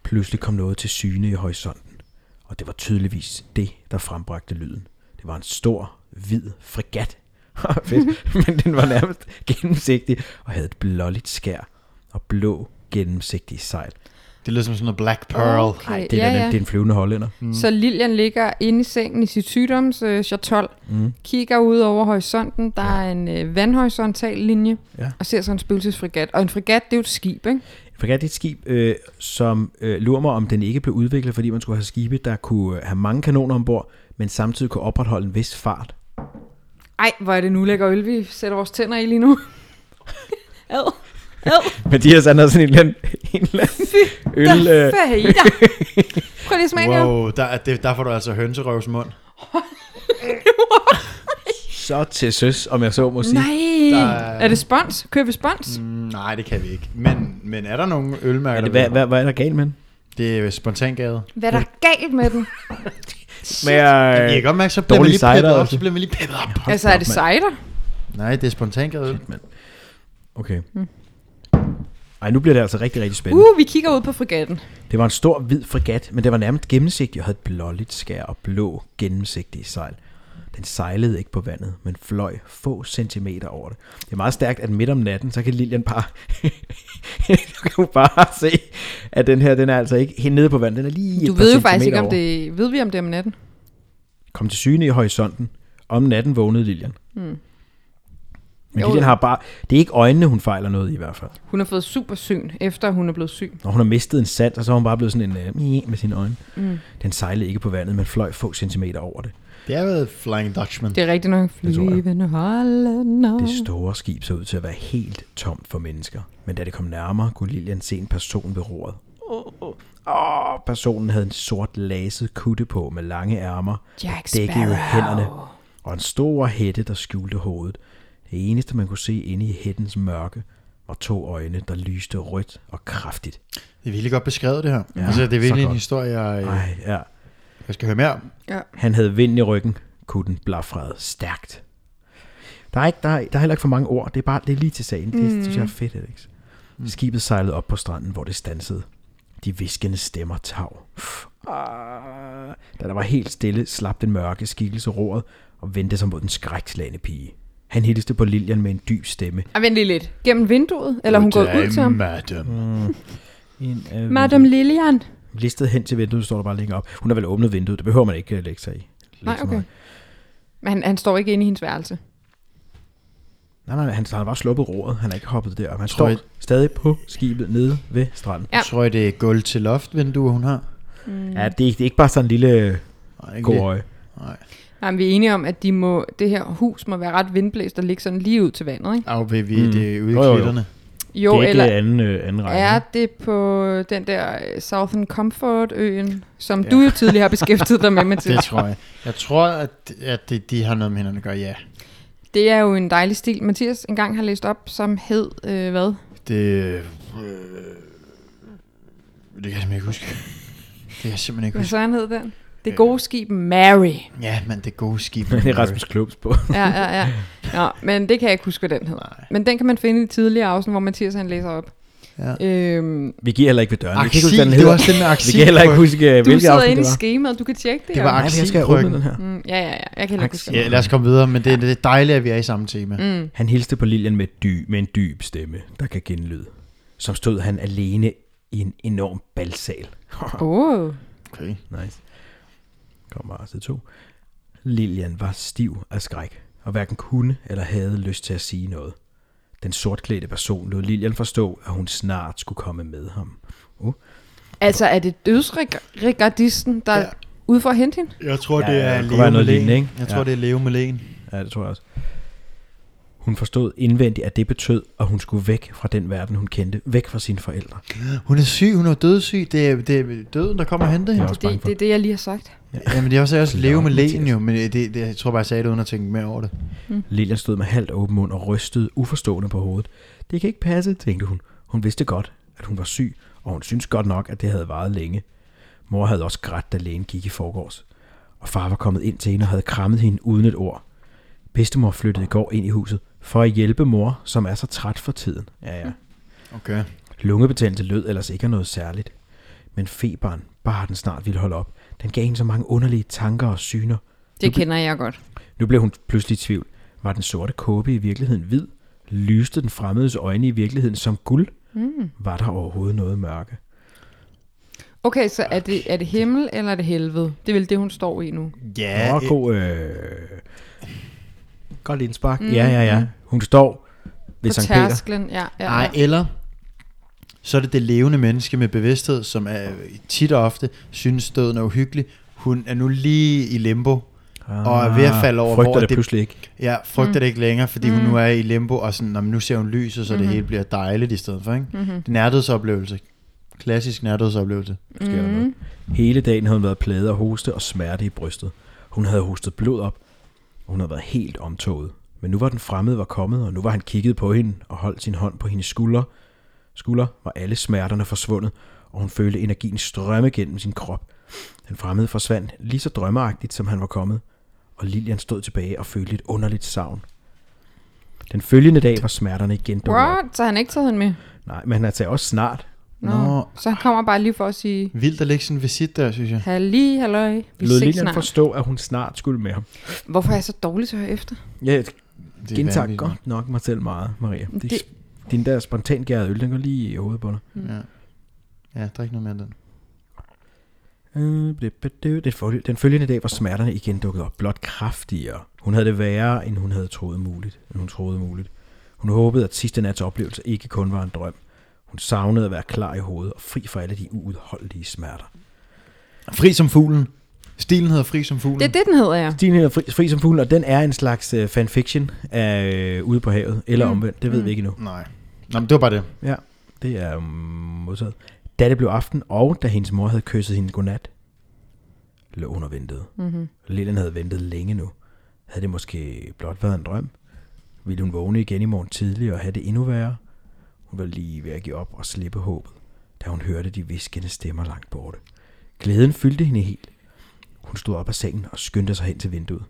S1: Pludselig kom noget til syne i horisonten, og det var tydeligvis det, der frembragte lyden. Det var en stor, hvid fregat. Fedt, men den var nærmest gennemsigtig og havde et blåligt skær og blå gennemsigtige sejl.
S2: Det lyder som sådan noget Black Pearl.
S3: Okay.
S1: Ej, det er,
S3: Øh, ja,
S1: ja,
S3: ja. Mm.
S1: det er en flyvende hollænder.
S3: Så Lilian ligger inde i sengen i sit sygdomsjatol, øh, mm. kigger ud over horisonten, der er en øh, vandhorisontal linje,
S1: Ja.
S3: og ser så en spøgelsesfregat. Og en fregat, det er jo et skib, ikke?
S1: Fregat er et skib, øh, som øh, lurer mig, om den ikke blev udviklet, fordi man skulle have skibe, der kunne øh, have mange kanoner ombord, men samtidig kunne opretholde en vis fart.
S3: Ej, hvor er det nu lækker øl, vi sætter vores tænder i lige nu. Ad. Ad.
S1: Mathias han havde sådan en eller anden, en eller anden øl. Øh,
S3: Hvad er I der? Prøv lige at smage wow.
S2: Wow, der, er- det, der får du altså hønserøvs mund.
S1: så til søs, om jeg så må sige.
S3: Nej.
S2: Der er-
S3: Er det spons? Kører vi spons? Mm.
S2: Mm, nej, det kan vi ikke. Men, men er der nogen ølmærker?
S1: Er det,
S2: der
S1: hvad,
S2: bliver-
S1: hvad, hvad er der galt med den?
S2: Det er spontangade.
S3: Hvad er der galt med den?
S1: Med,
S2: Jeg kan
S1: øh,
S2: godt mærke, så bliver man
S1: dårlige
S2: lige peppet
S1: cider
S2: op.
S1: også.
S2: Så bliver man lige peppet op.
S3: altså, er det cider?
S2: Nej, det er spontangade.
S1: okay.
S3: Mm.
S1: Ej, nu bliver det altså rigtig, rigtig spændende.
S3: Uh, vi kigger ud på fregatten.
S1: Det var en stor hvid fregat, men det var nærmest gennemsigtig og havde et blåligt skær og blå gennemsigtige sejl. Den sejlede ikke på vandet, men fløj få centimeter over det. Det er meget stærkt, at midt om natten, så kan Lilian bare, så kan hun bare se, at den her, den er altså ikke helt nede på vandet. Den er lige et
S3: Du
S1: par
S3: ved jo faktisk ikke,
S1: centimeter
S3: om
S1: over.
S3: det... Ved vi, om det er om natten?
S1: Kom til syne i horisonten. Om natten vågnede Lilian. Mm. Men
S3: Hmm. Jo,
S1: Lilian
S3: jo.
S1: har bare... Det er ikke øjnene, hun fejler noget i hvert fald.
S3: Hun har fået supersyn, efter hun er blevet syg.
S1: Og hun har mistet en sand, og så er hun bare blevet sådan en øh, mie med sine øjne. Mm. Den sejlede ikke på vandet, men fløj få centimeter over det.
S2: Det er jo Flying Dutchman.
S3: Det er rigtigt nok
S1: tror jeg.
S3: flyvende hollænder.
S1: Det store skib så ud til at være helt tomt for mennesker, men da det kom nærmere, kunne Lilian se en person ved roret. Åh, personen havde en sort laset kutte på med lange ærmer,
S3: Jack
S1: der dækkede
S3: Sparrow.
S1: hænderne, og en stor hætte, der skjulte hovedet. Det eneste, man kunne se inde i hættens mørke, var to øjne, der lyste rødt og kraftigt.
S2: Det er virkelig godt beskrevet, det her.
S1: Ja,
S2: Ja, altså, det er
S1: så
S2: virkelig en
S1: godt.
S2: historie, jeg, øh,
S1: Ej, ja.
S2: jeg skal høre mere om.
S3: Ja.
S1: Han havde vind i ryggen, kutten blafrede stærkt. Der er, ikke, der, er, der er heller ikke for mange ord, det er bare det er lige til sagen. Det mm. synes jeg er fedt, Alex. Skibet sejlede op på stranden, hvor det stansede. De viskende stemmer tav. Pff, ah. Da der var helt stille, slap den mørke skikkelse roret og vendte sig mod den skrækslagende pige. Han hilste på Lilian med en dyb stemme.
S3: Ej, vent lige lidt. Gennem vinduet? Eller er hun går ud til ham? Mm.
S2: Madam.
S1: En, øh,
S3: Madame Lillian.
S1: Listet hen til vinduet, står der bare længere op. Hun har vel åbnet vinduet, det behøver man ikke øh, lægge sig i. Lægge
S3: Nej,
S1: sig
S3: okay.
S1: noget.
S3: Men han, han står ikke inde i hendes værelse.
S1: Nej, nej, han har bare sluppet roret. Han er ikke hoppet der. Han
S2: Tror
S1: står
S2: I-
S1: stadig på skibet nede ved stranden.
S3: Ja.
S2: Ja. Tror jeg, det er gulv til loft, vinduer, hun har?
S1: Mm. Ja, det er, ikke- det er ikke bare sådan en lille
S2: Nej, ikke
S1: god
S2: det.
S1: øje.
S2: Nej.
S3: Jamen, vi er enige om, at de må, det her hus må være ret vindblæst og ligge sådan lige ud til vandet, ikke?
S2: Au, vi, vi,
S1: Mm.
S2: det er ude i
S1: Jo, jo, jo.
S2: klitterne.
S1: Jo,
S3: Jo,
S1: det er ikke
S3: eller
S1: eller... anden, øh, anden række.
S3: er det på den der øh, Southern Comfort-øen, som ja. du jo tidligere har beskæftiget dig med,
S2: Det
S3: Mathias?
S2: tror jeg. Jeg tror, at, at det, de har noget med hinanden at gøre, ja.
S3: Det er jo en dejlig stil, Mathias engang har læst op, som hed, øh, hvad?
S2: Det, øh, det kan jeg simpelthen ikke huske. Det kan jeg simpelthen ikke
S3: Hvad
S2: huske.
S3: sådan hed den? Det gode skib Mary.
S2: Ja, men det gode skib.
S1: Men det er Rasmus Klumps på.
S3: Ja, ja, ja. Nå, men det kan jeg ikke huske, hvad den hed.
S2: Nej.
S3: Men den kan man finde i tidligere afsnit, hvor Mathias han læser op.
S2: Ja.
S3: Øhm,
S1: Vi giver heller ikke ved døren. Vi kan ikke
S2: Axil,
S1: huske, hvad den
S2: det var
S1: hedder.
S2: også den med
S1: Vi
S2: Axil.
S1: kan heller ikke
S2: Brygge.
S1: huske, øh,
S3: du
S1: hvilket
S3: sidder
S1: afsnit
S3: inde
S1: det
S3: i
S1: var.
S3: skemaet, du kan tjekke det.
S2: Det
S3: Jacob.
S1: Nej,
S2: var
S1: jeg skal have
S2: Axelbryggen.
S1: åbnet den her.
S3: Mm, ja, ja, ja. Jeg kan heller ikke huske
S1: Axel.
S3: det.
S2: Ja, lad os komme videre, men det, det er dejligt, at vi er i samme tema. Mm.
S1: Han hilste på Lilian med, dy, med en dyb stemme, der kan genlyde. Som stod han alene i en enorm balsal.
S3: Oh.
S2: Okay.
S1: Nice. Kom bare til to. Lilian var stiv af skræk, og hverken kunne eller havde lyst til at sige noget. Den sortklædte person lod Lilian forstå, at hun snart skulle komme med ham. Uh,
S3: Altså, er det dødsregardisten, der ja.
S2: Ja.
S3: ude for at hente hende?
S2: Jeg tror,
S1: Ja,
S2: det
S1: ja,
S2: er
S1: der kunne
S2: Leo
S1: være noget lignende,
S2: Malene.
S1: ikke?
S2: Jeg
S1: Ja.
S2: tror, det er Leo Malene.
S1: ja, det tror jeg også. Hun forstod indvendigt, at det betød, at hun skulle væk fra den verden, hun kendte. Væk fra sine forældre.
S2: Hun er syg, hun er dødssyg. Det er, det er døden, der kommer og henter
S1: Jeg er
S2: hende.
S1: også bange
S3: Det,
S1: for.
S3: det er det, jeg lige har sagt.
S2: Jamen, det er også, også
S1: Nå,
S2: Leo Malene
S1: Mathias.
S2: jo, men det, det, jeg tror bare, jeg sagde det uden at tænke mere over det.
S1: Lilian stod med halvt åben mund og rystede uforstående på hovedet. Det kan ikke passe, tænkte hun. Hun vidste godt, at hun var syg, og hun syntes godt nok, at det havde varet længe. Mor havde også grædt, da lægen gik i forgårs. Og far var kommet ind til hende og havde krammet hende uden et ord. Bedstemor flyttede i går ind i huset for at hjælpe mor, som er så træt for tiden. Ja, ja.
S2: Okay.
S1: Lungebetændelse lød ellers ikke af noget særligt. Men feberen, bare den snart ville holde op, den gav hende så mange underlige tanker og syner.
S3: Det kender jeg godt.
S1: Nu blev hun pludselig i tvivl. Var den sorte kåbe i virkeligheden hvid? Lyste den fremmedes øjne i virkeligheden som guld? Mm. Var der overhovedet noget mørke?
S3: Okay, så er det, er det himmel eller er det helvede? Det er vel det, hun står i nu.
S2: Ja,
S1: Nå,
S2: øh,
S1: god, øh... Godt indspark. Mm. Ja, ja, ja. Hun står ved
S3: På
S1: Sankt Peter.
S3: tærsklen. Ja, ja, ja.
S2: nej, eller så er det det levende menneske med bevidsthed, som er tit og ofte synes døden er uhyggelig. Hun er nu lige i limbo, og er ved at falde over,
S1: Ah, Frygter
S2: hvor
S1: det
S2: det-
S1: pludselig ikke.
S2: Ja, frygter mm. det ikke længere, fordi mm. hun nu er i limbo, og sådan, "Nå, men nu ser hun lyset, så mm. det hele bliver dejligt i stedet for. Ikke? Mm-hmm. Det er nærdødsoplevelse. Klassisk nærdødsoplevelse.
S1: sker mm. noget.
S3: Mhm.
S1: Hele dagen havde hun været plaget af hoste og smerte i brystet. Hun havde hostet blod op, og hun havde været helt omtoget. Men nu var den fremmede var kommet, og nu var han kigget på hende og holdt sin hånd på hendes skulder. Skulder var alle smerterne forsvundet, og hun følte energien strømme gennem sin krop. Den fremmede forsvandt lige så drømmeagtigt, som han var kommet, og Lilian stod tilbage og følte et underligt savn. Den følgende dag var smerterne igen dukket op.
S3: What? Så han har ikke taget hende med?
S1: Nej, men han er altså også snart.
S3: Nå.
S2: Nå.
S3: Så han kommer bare lige for at sige,
S2: Vildt at lægge sådan en visit der, synes jeg.
S3: halli, halløj, vi
S1: Lod
S3: ses
S1: Lilian
S3: snart.
S1: forstå, at hun snart skulle med ham.
S3: Hvorfor er jeg så dårlig til at høre efter?
S1: Ja,
S2: Det er
S1: gentager
S2: vanvittigt.
S1: godt nok mig selv meget, Maria. Det,
S3: Det-
S1: det... Din der spontan gærede øl, den går lige i hovedet på dig.
S2: Ja. ja, der er ikke noget mere end den.
S1: Øh, blip, blip, blip. Den følge- Den følgende dag var smerterne igen dukket op, blot kraftigere. Hun havde det værre, end hun havde troet muligt. End hun troede muligt. Hun håbede, at sidste nats oplevelse ikke kun var en drøm. Hun savnede at være klar i hovedet og fri for alle de uudholdelige smerter.
S2: Fri som fuglen. Stilen hedder Fri som fuglen.
S3: Det er det, den hedder, ja.
S1: Stine er fri, fri som fuglen, og den er en slags øh, fanfiction af øh, Ude på havet, eller mm. omvendt, det ved mm. vi ikke endnu.
S2: Nej. Nå, men det var bare det.
S1: Ja, det er um, modtaget. Da det blev aften, og da hendes mor havde kysset hende godnat, lå hun og ventede. Mm-hmm. Lillian havde ventet længe nu. Havde det måske blot været en drøm? Ville hun vågne igen i morgen tidlig og have det endnu værre? Hun var lige ved at give op og slippe håbet, da hun hørte de viskende stemmer langt borte. Glæden fyldte hende helt. Hun stod op af sengen og skyndte sig hen til vinduet.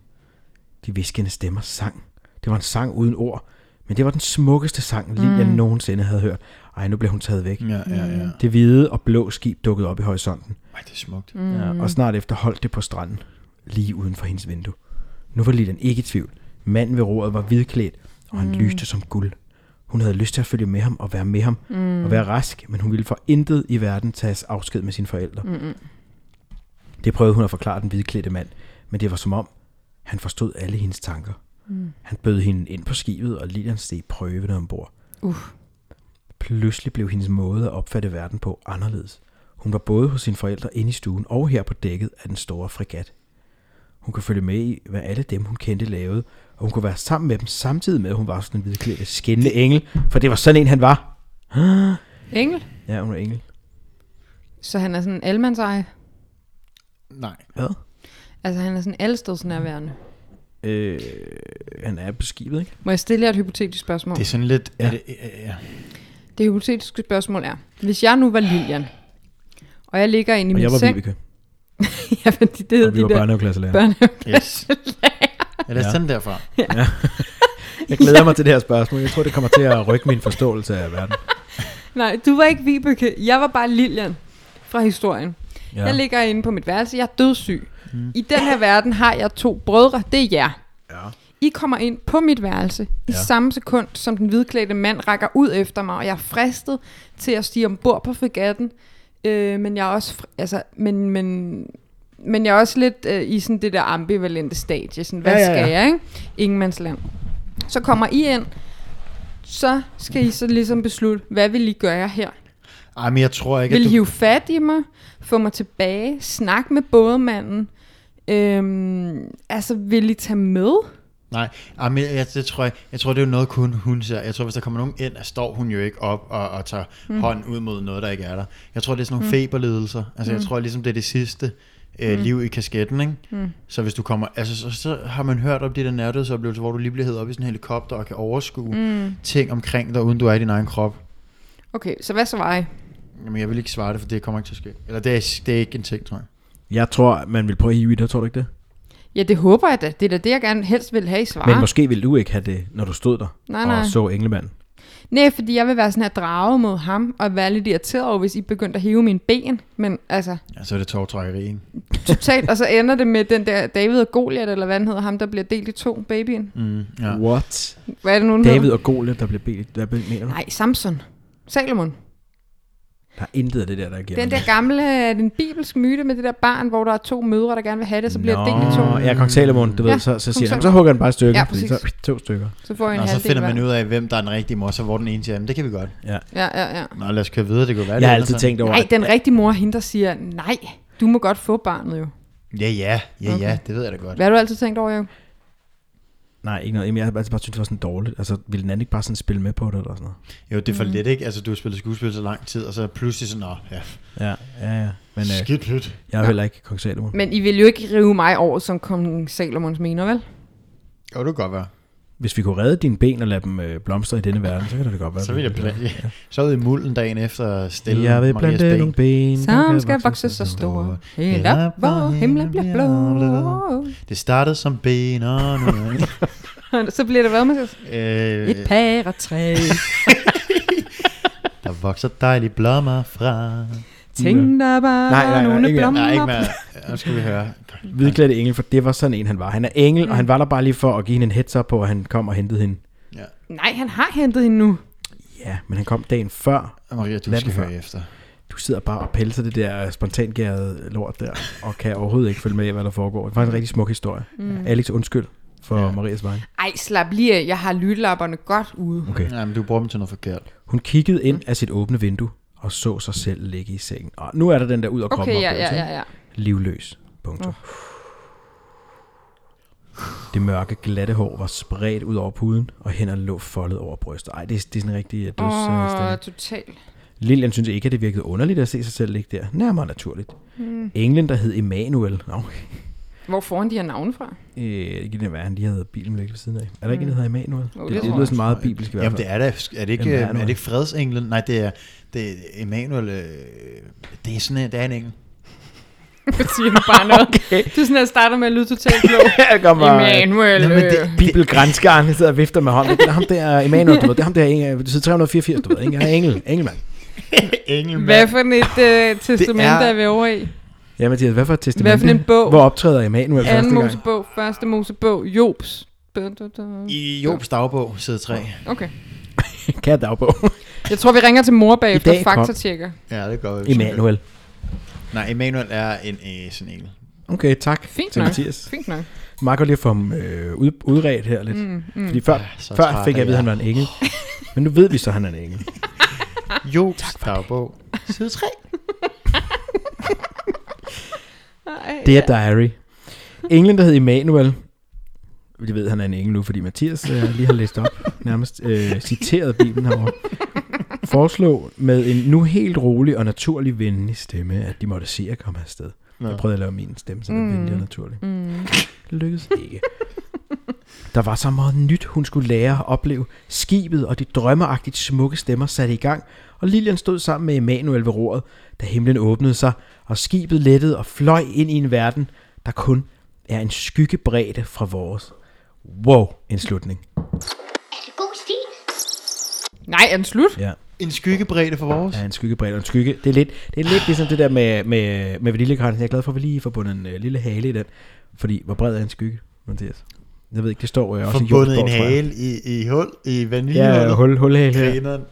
S1: De viskende stemmer sang. Det var en sang uden ord, men det var den smukkeste sang, Lilian mm. nogensinde havde hørt. Ej, nu blev hun taget væk.
S2: Ja, ja, ja.
S1: Det hvide og blå skib dukkede op i horisonten,
S2: Ej, det er smukt.
S1: mm. ja, og snart efter holdt det på stranden, lige uden for hendes vindue. Nu var Lilian ikke i tvivl. Manden ved roret var hvidklædt, og han mm. lyste som guld. Hun havde lyst til at følge med ham og være med ham mm. og være rask, men hun ville for intet i verden tages afsked med sine forældre. Mm. Det prøvede hun at forklare den hvidklædte mand, men det var som om, han forstod alle hendes tanker. Mm. Han bød hende ind på skibet, og Lilian steg prøvende ombord. Pludselig blev hendes måde at opfatte verden på anderledes. Hun var både hos sine forældre inde i stuen og her på dækket af den store fregat. Hun kunne følge med i, hvad alle dem, hun kendte, lavede, og hun kunne være sammen med dem samtidig med, at hun var sådan en hvidklædt skinnende engel, for det var sådan en, han var.
S3: Engel?
S1: Ja, hun var engel.
S3: Så han er sådan en almandseje.
S2: Nej.
S1: Hvad?
S3: Altså, han er sådan allestedsnærværende.
S1: Øh, han er på skibet, ikke?
S3: Må jeg stille jer et hypotetisk spørgsmål?
S2: Det er
S3: Det,
S2: sådan lidt... Ja. Er det, ja, ja.
S3: det hypotetiske spørgsmål er, hvis jeg nu var Lilian, og jeg ligger inde i
S1: Og jeg
S3: min
S1: var
S3: seng...
S1: Vibeke,
S3: ja, fordi det hedder
S1: og vi
S3: de
S1: var
S3: der
S1: børnehaveklasselærer.
S3: børne...
S2: Yes. ja, lad os
S1: Ja.
S2: tage den derfra.
S1: Jeg glæder mig til det her spørgsmål. Jeg tror, det kommer til at rykke min forståelse af verden.
S3: Nej, du var ikke Vibeke. Jeg var bare Lilian fra historien. Ja. Jeg ligger inde på mit værelse. Jeg er dødssyg. Mm. I den her verden har jeg to brødre. Det er jer.
S1: Ja.
S3: I kommer ind på mit værelse i
S1: Ja.
S3: samme sekund, som den hvidklædte mand rækker ud efter mig, og jeg er fristet til at stige ombord på fregatten. Øh, men jeg er også, fr- altså, men, men, men jeg er også lidt øh, i sådan det der ambivalente stadie. Sådan, hvad
S2: Ja,
S3: ja,
S2: ja,
S3: ja,
S2: ja.
S3: skal jeg, ikke? Ingenmandsland. Så kommer I ind, så skal I så ligesom beslutte, hvad vil I gøre her?
S2: Ej, men jeg tror ikke,
S3: Vil
S2: at du...
S3: hive fat i mig, få mig tilbage, snak med bådemanden. Øhm, altså, vil I tage med?
S2: Nej, ej, men jeg, det tror jeg, jeg tror, det er jo noget, kun hun ser. Jeg tror, hvis der kommer nogen ind, står hun jo ikke op og, og tager mm. hånden ud mod noget, der ikke er der. Jeg tror, det er sådan nogle mm. feberlidelser. Altså, mm. jeg tror ligesom, det er det sidste øh, liv i kasketten, ikke? Mm. Så hvis du kommer... Altså, så, så har man hørt om de der nærdødsoplevelser, hvor du lige bliver hævet op i sådan en helikopter og kan overskue mm. ting omkring dig, uden du er i din egen krop.
S3: Okay, så hvad så var I?
S2: Jamen, jeg vil ikke svare det, for det kommer ikke til at ske. Eller det er, det er ikke en ting, tror jeg.
S1: Jeg tror, man vil prøve at hive i dig, tror du ikke det?
S3: Ja, det håber jeg da. Det er da det, jeg gerne helst vil have, I svarer.
S1: Men måske ville du ikke have det, når du stod der
S3: Ah. Nej,
S1: og
S3: nej.
S1: så englemanden.
S3: Nej, fordi jeg vil være sådan her drage mod ham, og være lidt irriteret over, hvis I begyndte at hive mine ben. Men altså,
S2: Ja, så er det tårtrækkeri, ikke?
S3: totalt. og så ender det med den der David og Goliath, eller hvad han hedder, ham der bliver delt i to, babyen.
S2: Mm, ja.
S1: What?
S3: Hvad er det nu, den
S1: David
S3: hedder?
S1: og Gole, der bliver bedt. Hvad mener du?
S3: Nej, Samson. Salomon.
S1: Der er intet af det der, der giver
S3: Den der gamle, er det en bibelsk myte med det der barn, hvor der er to mødre, der gerne vil have det, så bliver det delt i to.
S1: Ja, Kong Salomon, du ved,
S3: Ja,
S1: så, så
S3: Kong
S1: siger han, så
S3: Salomon.
S1: hugger han bare et stykke.
S3: Ja,
S1: fordi
S3: præcis.
S1: så, to stykker.
S3: Så får I en
S2: Nå,
S3: halvdel
S2: så finder man
S3: hver.
S2: ud af, hvem der er den rigtige mor, så hvor den ene siger, jamen det kan vi godt.
S3: Ja, ja, ja.
S2: Nå, lad os køre videre, det kunne være det.
S1: Jeg har
S2: ender
S1: altid
S2: sådan.
S1: tænkt over,
S3: Nej,
S1: at-
S3: den rigtige mor, er hende der siger, nej, du må godt få barnet jo.
S2: Ja, ja, ja, ja, det ved jeg da godt.
S3: Hvad har du altid tænkt over, jo?
S1: Nej, ikke noget. Jamen, jeg har altid bare syntes, det var sådan dårligt. Altså, ville den anden ikke bare sådan spille med på det eller sådan noget?
S2: Jo, det er
S1: Mhm.
S2: for lidt, ikke? Altså, du har spillet skuespil så lang tid, og så pludselig sådan, nå, ja,
S1: Ja, ja, ja. Men øh,
S2: skidt pyt.
S1: jeg er jo heller ikke Kong Salomon.
S3: Men I vil jo ikke rive mig over som kong Salomons mener, vel?
S2: Jo, det kunne godt være.
S1: Hvis vi kunne redde dine ben og lade dem øh, blomstre i denne verden, så kan det da godt være.
S2: Så vil jeg
S1: det-
S2: plante, så ud i mulden dagen efter og stille
S1: Jeg vil
S2: Marias
S1: plante nogle ben. der
S3: Som
S1: kan
S3: skal vokse så store, helt op, hvor himlen bliver blå.
S2: Det startede som ben, og nu er det-
S3: Så bliver det hvad, Mathias?
S2: øh,
S3: Et par og tre.
S2: der vokser dejlige blommer fra.
S3: Tænk dig bare
S1: Nej, nej, nej,
S3: nogle
S1: ikke mere.
S3: blommer.
S2: Nej, ikke mere. Nu skal vi høre.
S1: Hvidklædt engel, for det var sådan en, han var. Han er engel, mm. og han var der bare lige for at give hende en heads up på, at han kom og hentede hende.
S2: Ja.
S3: Nej, han har hentet hende nu.
S1: Ja, men han kom dagen før.
S2: Maria, du
S1: Natten
S2: skal
S1: før.
S2: høre efter.
S1: Du sidder bare og pelser det der øh, spontangærede lort der, og kan overhovedet ikke følge med i, hvad der foregår. Det var en rigtig smuk historie. Mm. Alex, undskyld for ja.
S2: Ja.
S1: Marias vej.
S3: Ej, slap lige af. Jeg har lytlapperne godt ude.
S1: Okay.
S2: Nej, men du bruger dem til noget forkert.
S1: Hun kiggede
S3: Mm.
S1: ind af sit åbne vindue og så sig selv ligge i sengen. Og nu er der den der ud og kroppen
S3: Okay, ja,
S1: oplevelse,
S3: ja,
S1: ikke?
S3: ja, ja.
S1: Livløs. Punktum. Det mørke, glatte hår var spredt ud over puden, og hænder lå foldet over brystet. Ej, det er, det er sådan en rigtig øh, døds...
S3: Åh,
S1: Oh.
S3: oh, totalt.
S1: Lilian synes ikke, at det virkede underligt at se sig selv ligge der. Nærmere naturligt.
S3: Hmm.
S1: Mm. Englen, der hed Emanuel. Nå,
S3: Hvor får han de her navne fra?
S1: øh, det kan det være, han lige havde bilen væk ved siden af. Er der ikke en, der hedder Emanuel?
S3: Hmm. Jo, det
S1: det,
S3: tror
S1: lyder
S3: jeg.
S1: sådan meget bibelsk i hvert
S2: Jamen,
S1: fald.
S2: det er da. Er det ikke,
S1: Jamen, der
S2: Jamen,
S1: er
S2: er, er
S1: noget.
S2: det ikke fredsenglen? Nej, det er, det er Emanuel. Øh, det er sådan en, det er en engel.
S3: Jeg siger nu bare noget. okay. Det er sådan, at jeg starter med at lyde totalt blå.
S1: Jeg kommer,
S3: Emanuel.
S2: Nå, men det-
S3: øh.
S1: Bibelgrænskeren der sidder og vifter med hånden. Det er ham der, Emanuel, du ved. Det er ham der, Inge- du sidder 384, du ved. Ikke? Han er engel, engelmand.
S2: Engelmand.
S3: Hvad for et øh, testament
S2: Det er-
S3: er vi over i?
S1: Ja, Mathias, hvad for et testament?
S3: Hvad for en bog?
S1: Hvor optræder Emanuel første
S3: Anden
S1: gang?
S3: Mosebog, første Mosebog, Jobs. Da, da, da.
S2: I Jobs dagbog, side 3.
S3: Okay.
S1: Kan jeg dagbog?
S3: Jeg tror, vi ringer til mor bagefter
S1: I dag
S3: og
S1: kom-
S3: faktatjekker.
S2: Ja, det gør vi.
S1: Emanuel.
S2: Nej, Emanuel er en øh, sådan en engel.
S1: Okay, tak
S3: Fint
S1: til
S3: nok.
S1: Mathias.
S3: Fint nok.
S1: Meget godt lige at få ham øh, ud, udredt her lidt. Mm, mm. Fordi før,
S2: Ah, så
S1: før
S2: træt
S1: fik jeg
S2: er
S1: at vide, at han var
S2: jeg.
S1: en engel. Men nu ved vi så, at han er en engel.
S2: Jobs dagbog, side 3.
S3: Ej,
S1: Det er Diary. Englen, der hed Emanuel. Vi ved, han er en engel nu, fordi Mathias øh, lige har læst op, nærmest øh, citeret Bibelen herovre. Foreslog med en nu helt rolig og naturlig venlig stemme, at de måtte se at komme afsted.
S2: Nå.
S1: Jeg prøvede at lave min stemme, så den mm.
S3: Mm.
S1: venlig og naturlig.
S3: Mm.
S1: Det lykkedes ikke. Der var så meget nyt, hun skulle lære at opleve. Skibet og de drømmeagtigt smukke stemmer satte i gang, og Lilian stod sammen med Emanuel ved roret, da himlen åbnede sig, og skibet lettede og fløj ind i en verden, der kun er en skyggebredde fra vores. Wow, en slutning.
S4: det god stil?
S3: Nej, er den slut?
S1: Ja,
S2: En skyggebredde for vores.
S1: ja en skyggebredde og en skygge. Det er lidt, det er lidt ligesom det der med, med, med vaniljekarten. Jeg er glad for, at vi lige får bundet en øh, lille hale i den. Fordi, hvor bred er en skygge, Mathias? Jeg ved ikke, det står øh, også i
S2: Forbundet
S1: Jordsborg,
S2: en
S1: tror jeg.
S2: hale i, i hul, i
S1: Ja, ja,
S2: vaniljeholdet.
S1: hul, hul her. her.
S2: Grineren.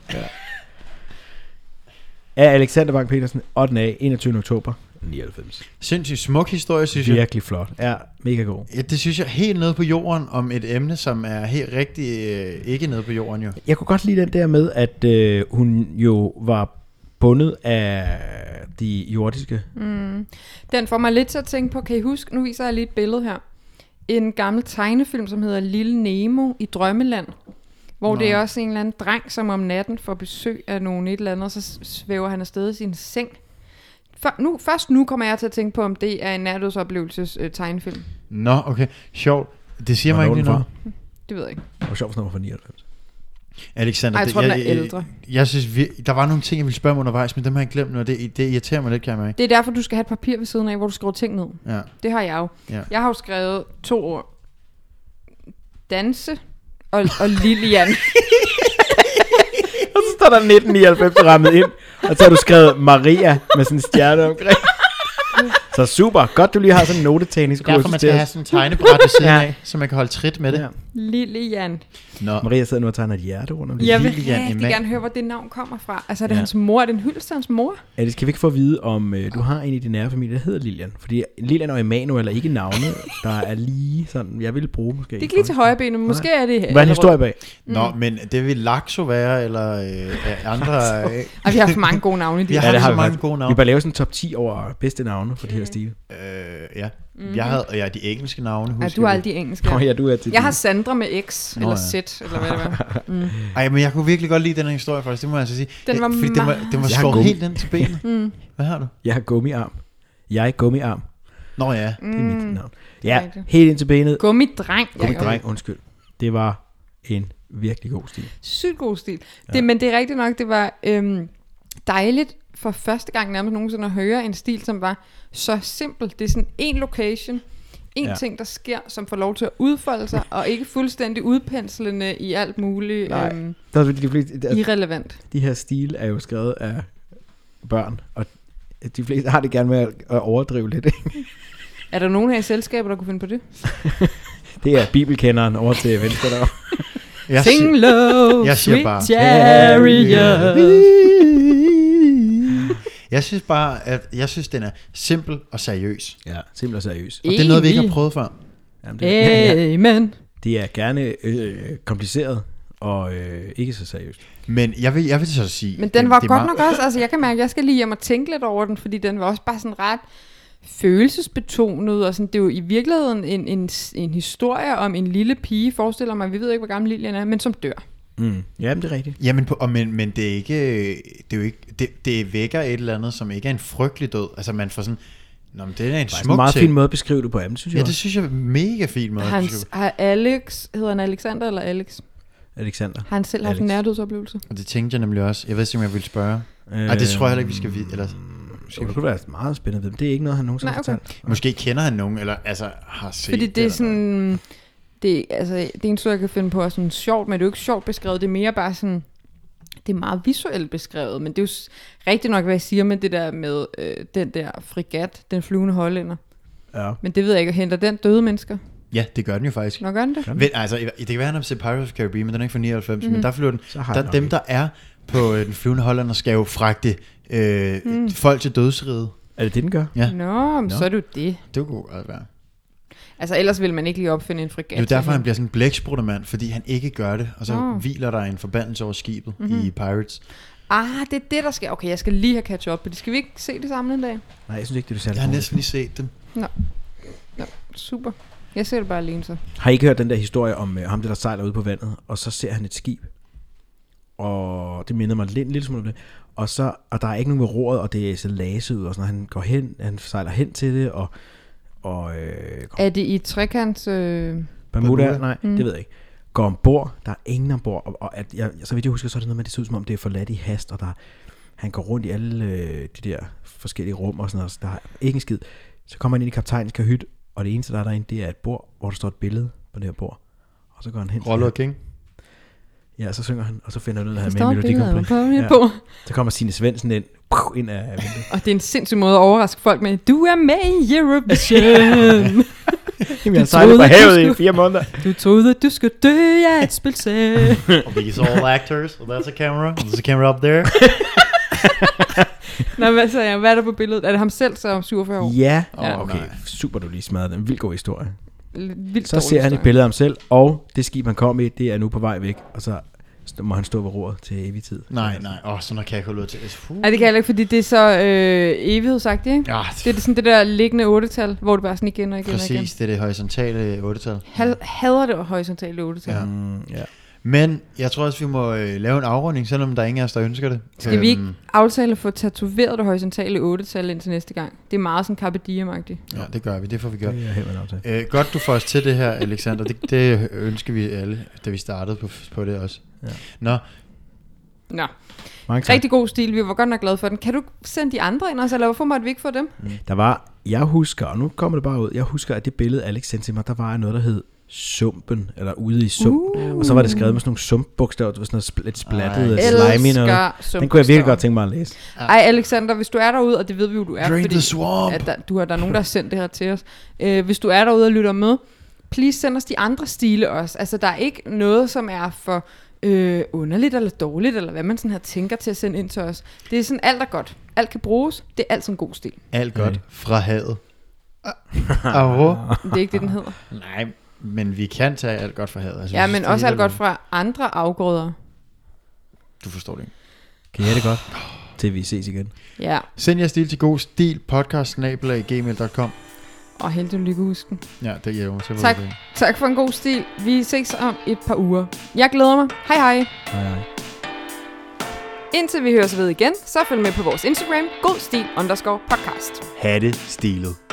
S1: Af Alexander Bang Petersen, 8. af 21. oktober 99.
S2: Sindssygt smuk historie, synes jeg.
S1: Virkelig flot. Ja, mega god.
S2: Ja, det synes jeg helt nede på jorden om et emne, som er helt rigtig øh, ikke nede på jorden jo.
S1: Jeg kunne godt lide den der med, at øh, hun jo var bundet af de jordiske.
S2: Mm.
S3: Den får mig lidt til at tænke på, kan I huske, nu viser jeg lige et billede her. En gammel tegnefilm, som hedder Lille Nemo i Drømmeland. Hvor Nå. det er også en eller anden dreng, som om natten får besøg af nogen et eller andet, og så s- svæver han afsted i sin seng. For, nu, først nu kommer jeg til at tænke på, om det er en nærdødsoplevelses øh, tegnefilm.
S2: Nå, okay. Sjovt. Det siger mig
S1: Hvornår
S2: ikke lige
S1: den
S2: noget.
S1: fra?
S3: Det ved jeg ikke.
S1: Og sjovt, hvis den var fra 99.
S2: Alexander,
S3: Ej, jeg tror,
S2: det,
S3: den er
S2: jeg,
S3: ældre.
S2: Jeg, jeg synes, vi, der var nogle ting, jeg ville spørge om undervejs, men dem har jeg glemt nu, og det, det irriterer mig lidt, kan jeg mærke.
S3: Det er derfor, du skal have et papir ved siden af, hvor du skriver ting ned.
S2: Ja.
S3: Det har jeg jo.
S2: Ja.
S3: Jeg har jo skrevet to ord. Danse og, og Lilian.
S1: Og så står der 1999 rammet ind, og så har du skrevet Maria med sådan en stjerne omkring. Så super, godt du lige har sådan en
S2: Det er derfor,
S1: notetagningskursus
S2: man
S1: til
S2: skal have
S1: os.
S2: sådan en tegnebræt ved siden
S1: Ja.
S2: af, så man kan holde trit med det.
S1: Ja.
S3: Lilian.
S2: Nå,
S3: Mm.
S1: Maria sidder nu og tegner et hjerte rundt om det.
S3: Jeg vil
S2: Lilian
S3: rigtig
S2: Emma-
S3: gerne høre, hvor det navn kommer fra. Altså, er det
S1: Ja.
S3: ja. hans mor? Er det en hyldest til hans mor?
S1: Alice, kan vi ikke få at vide, om øh, du har en i din nære familie, der hedder Lilian? Fordi Lilian og Emanuel er ikke navne, der er lige sådan, jeg ville bruge måske.
S3: Det er ikke lige til højre benet, men måske er det her.
S1: Hvad er en historie bag?
S2: Nå, men det vil Laxo være, eller øh, andre... Øh,
S3: Og vi har haft mange gode navne i de
S2: Vi
S3: ja.
S2: har, ja, så
S1: vi
S2: mange
S1: faktisk.
S2: gode
S1: Vi
S2: navne.
S1: bør lave sådan en top 10 over bedste navne for de her stile.
S2: Øh, ja. Jeg havde ja, de engelske navne,
S3: ja,
S2: husker
S3: Mhm. du har
S2: vi.
S3: alle de engelske.
S1: Nå ja, du er til
S3: Jeg har Sandra med X,
S2: Nå,
S3: eller
S2: ja.
S3: Z, eller hvad det var.
S2: Ej, men jeg kunne virkelig godt lide den her historie, faktisk. Det må jeg altså sige.
S3: Den
S2: Ja,
S3: var
S2: Fordi den var, den var
S1: Jeg har
S2: skåret
S1: gummi.
S2: helt ind til benet. mm. Hvad har du?
S1: jeg har gummiarm. Jeg er gummiarm.
S2: Nå ja.
S3: Mm.
S1: Det er mit navn. Ja,
S3: rigtigt.
S1: helt ind til benet.
S3: Gummidreng. Jacob.
S1: Gummidreng, undskyld. Det var en virkelig god stil.
S3: Sygt god stil. Ja. Det, men det er rigtigt nok, det var øhm, dejligt for første gang nærmest nogensinde at høre en stil, som var så simpel. Det er sådan en location, en
S1: Ja.
S3: ja. ting, der sker, som får lov til at udfolde sig, og ikke fuldstændig udpenslende i alt muligt
S1: Nej.
S3: øhm,
S1: Der er fordi de, fleste, de,
S3: irrelevant.
S1: de her stil er jo skrevet af børn, og de fleste har det gerne med at overdrive lidt. ikke?
S3: Er der nogen her i selskabet, der kunne finde på det?
S1: Det er bibelkenderen over til venstre derovre.
S2: Jeg,
S3: Sing low,
S2: jeg siger
S3: sweet
S2: bare-
S3: chariot.
S2: jeg synes bare, at jeg synes, den er simpel og seriøs.
S1: Ja, simpelthen og seriøs.
S2: Og det er noget, vi ikke har
S3: Enig.
S2: prøvet før.
S1: Jamen, det, ja, ja.
S3: Amen.
S1: det er gerne øh, kompliceret og øh, ikke så seriøst.
S2: Men jeg vil, jeg vil så sige...
S3: Men den var
S2: det er
S3: godt
S2: meget-
S3: nok også, altså jeg kan mærke, at jeg skal lige hjem og tænke lidt over den, fordi den var også bare sådan ret følelsesbetonet, og sådan, det er jo i virkeligheden en, en, en historie om en lille pige, forestiller mig, vi ved ikke, hvor gammel Lilian er, men som dør.
S1: Mm. Jamen, det er rigtigt.
S2: Jamen, på, og men, men det er ikke... Det, er jo ikke det, det vækker et eller andet, som ikke er en frygtelig død. Altså, man får sådan... Nå, men det er en
S1: Det er
S2: smuk
S1: en meget
S2: ting.
S1: fin måde at beskrive det på, jamen, synes jeg.
S2: Ja, det synes jeg er en mega fin måde. at beskrive.
S3: Hans, har Alex, hedder han Alexander eller Alex?
S1: Alexander.
S3: Har han selv haft
S1: Alex.
S3: en nærdødsoplevelse?
S2: Og det tænkte jeg nemlig også. Jeg ved ikke, om jeg ville spørge. Øh, Ej, det tror jeg heller ikke, vi skal vide. Eller,
S1: mm. Skal det kunne være meget spændende at vide, men det er ikke noget, han nogensinde
S3: Nej,
S1: har
S3: okay.
S1: fortalt.
S2: måske kender han nogen, eller altså har set
S3: Fordi det er
S2: eller noget.
S3: sådan, det, er- altså, det er en historie, jeg kan finde på, er sådan sjovt, men det er jo ikke sjovt beskrevet, det er mere bare sådan, det er meget visuelt beskrevet, men det er jo s- rigtigt nok, hvad jeg siger med det der med øh, den der frigat, den flyvende hollænder.
S1: Ja.
S3: Men det ved jeg ikke, henter den døde mennesker?
S2: Ja, det gør den jo faktisk.
S3: Nok gør den det?
S2: Vent, altså, det kan være, han har set Pirates of the Caribbean, men den er ikke fra 99,
S3: Mhm.
S2: mm. men der flyver den.
S1: Så har jeg
S2: Der,
S1: nok
S2: dem,
S1: ikke.
S2: der er på øh, den flyvende hollander, skal jo fragte øh, mm. folk til dødsriget.
S1: Er det det, den gør?
S2: Ja.
S3: Nå, men
S1: Nå.
S3: så er det jo det.
S2: Det kunne godt være.
S3: Altså ellers ville man ikke lige opfinde en frigat.
S2: Det er jo derfor, han bliver sådan en blækspruttermand, fordi han ikke gør det, og så
S3: Nå. Mhm.
S2: hviler der en forbandelse over skibet mm-hmm. i Pirates.
S3: Ah, det er det, der sker. Okay, jeg skal lige have catch up på det. Skal vi ikke se det sammen en dag?
S1: Nej, jeg synes ikke, det er særlig
S2: Jeg har
S1: god.
S2: næsten lige set den.
S3: Super. Jeg ser det bare alene så.
S1: Har I ikke hørt den der historie om øh, ham, der, der sejler ude på vandet, og så ser han et skib, og det minder mig lidt, en lille smule om det, og, så, og der er ikke nogen ved roret, og det ser laset ud, og sådan, og han går hen, han sejler hen til det, og, og øh, går,
S3: Er det i trekants... Øh...
S1: Bermuda,
S2: Bermuda?
S1: Bermuda, nej, mm. det ved jeg ikke, går ombord, der er ingen ombord, og, og at, jeg, så vidt jeg husker, så er det noget med, at det ser ud som om, det er forladt i hast, og der, han går rundt i alle øh, de der forskellige rum, og sådan noget, så der er ikke en skid. Så kommer han ind i kaptajnens kahyt, og det eneste, der er derinde, det er et bord, hvor der står et billede på det her bord. Og så går han hen til
S2: Rollo
S1: det
S2: og King.
S1: Ja, så synger han, og så finder han ud af, at han
S3: Står
S1: er med i Melodi
S3: billeder
S1: Grand Prix.
S3: på mit
S1: Ja.
S3: bord.
S1: Så kommer Signe Svendsen ind, puh, ind af vinduet.
S3: Og det er en sindssyg måde at overraske folk med, du er med i Eurovision.
S1: Jamen, jeg
S3: sejlet
S1: sejlede
S3: på
S1: på
S3: troede,
S1: havet
S3: havet du i
S1: i
S3: skulle-
S1: fire måneder.
S3: du troede, du skulle dø af et spilse.
S2: Og vi er all actors, og that's a camera, and there's a camera up there.
S3: Nå, hvad, så, jeg? hvad er der på billedet? Er det ham selv, så om 47 år?
S1: Ja,
S2: Ja.
S1: oh, okay, super du lige smadrede den. Vild god historie.
S3: Lidt Vildt
S1: Så
S3: dårlig
S1: ser han et
S3: historie.
S1: billede af ham selv, og det skib, han kom i, det er nu på vej væk. Og så st- må han stå ved roret til evig tid.
S2: Nej, nej. Åh, oh, sådan noget kan jeg ikke holde ud til. Uh.
S3: Nej, det kan jeg heller ikke, fordi det er så øh, evighedsagtigt, ikke?
S2: Ja,
S3: Det er sådan det der liggende otte-tal, hvor du bare sådan igen og igen og igen.
S2: Ah, præcis. Det er det horisontale otte-tal.
S3: Hal- hader det horisontale otte-tal.
S2: Ja.
S3: Ja.
S1: Mm, ja.
S2: Men jeg tror også, vi må øh, lave en afrunding, selvom der er ingen af os, der ønsker det. Øhm,
S3: Skal vi ikke aftale at få tatoveret det horisontale otte-tal indtil næste gang? Det er meget sådan Carpe diem -agtigt.
S2: Ja, det gør vi. Det får vi gjort.
S1: Det er helt nok til.
S2: Øh, godt, du får os til det her, Alexander. Det, det ønsker vi alle, da vi startede på, på det også. Nå,
S3: Nå,
S1: Mange tak.
S3: rigtig god stil. Vi var godt nok glade for den. Kan du ikke sende de andre ind også, eller hvorfor måtte vi ikke få dem?
S1: Der var, jeg husker, og nu kommer det bare ud, jeg husker, at det billede, Alex sendte til mig, der var noget, der hed Sumpen, eller ude i sumpen. Uh. Og så var det skrevet med sådan nogle sumpbogstaver, det var sådan noget spl- lidt splattet,
S2: Ej.
S1: Ej, slimy noget.
S3: Elsker
S1: Den kunne jeg virkelig godt tænke mig at læse.
S3: Ej, Alexander, hvis du er derude, og det ved vi jo, du er,
S2: Drain the swamp.
S3: at der, du har, der er nogen, der har sendt det her til os. Øh, hvis du er derude og lytter med, please send os de andre stile også. Altså, der er ikke noget, som er for øh, underligt eller dårligt, eller hvad man sådan her tænker til at sende ind til os. Det er sådan, alt er godt. Alt kan bruges. Det er altid en god stil.
S2: alt godt fra havet. Aro.
S3: Men Det er ikke det, den hedder.
S2: Nej, men vi kan tage alt godt fra havet. Altså,
S3: Ja,
S2: jeg
S3: men
S2: synes, det
S3: også
S2: er
S3: alt godt
S2: helt-
S3: fra andre afgrøder.
S2: Du forstår det ikke.
S1: Kan jeg det godt? Til vi ses igen.
S3: Ja,
S2: Send jer stil til god stil, podcast gmail.com.
S3: og held og lykke husken.
S2: Ja, det giver mig til.
S3: Tak. Tak for en god stil. Vi ses om et par uger. Jeg glæder mig. Hej hej.
S1: Hej, hej.
S3: Indtil vi høres ved igen, så følg med på vores Instagram, godstil underscore podcast.
S2: Ha' det stilet.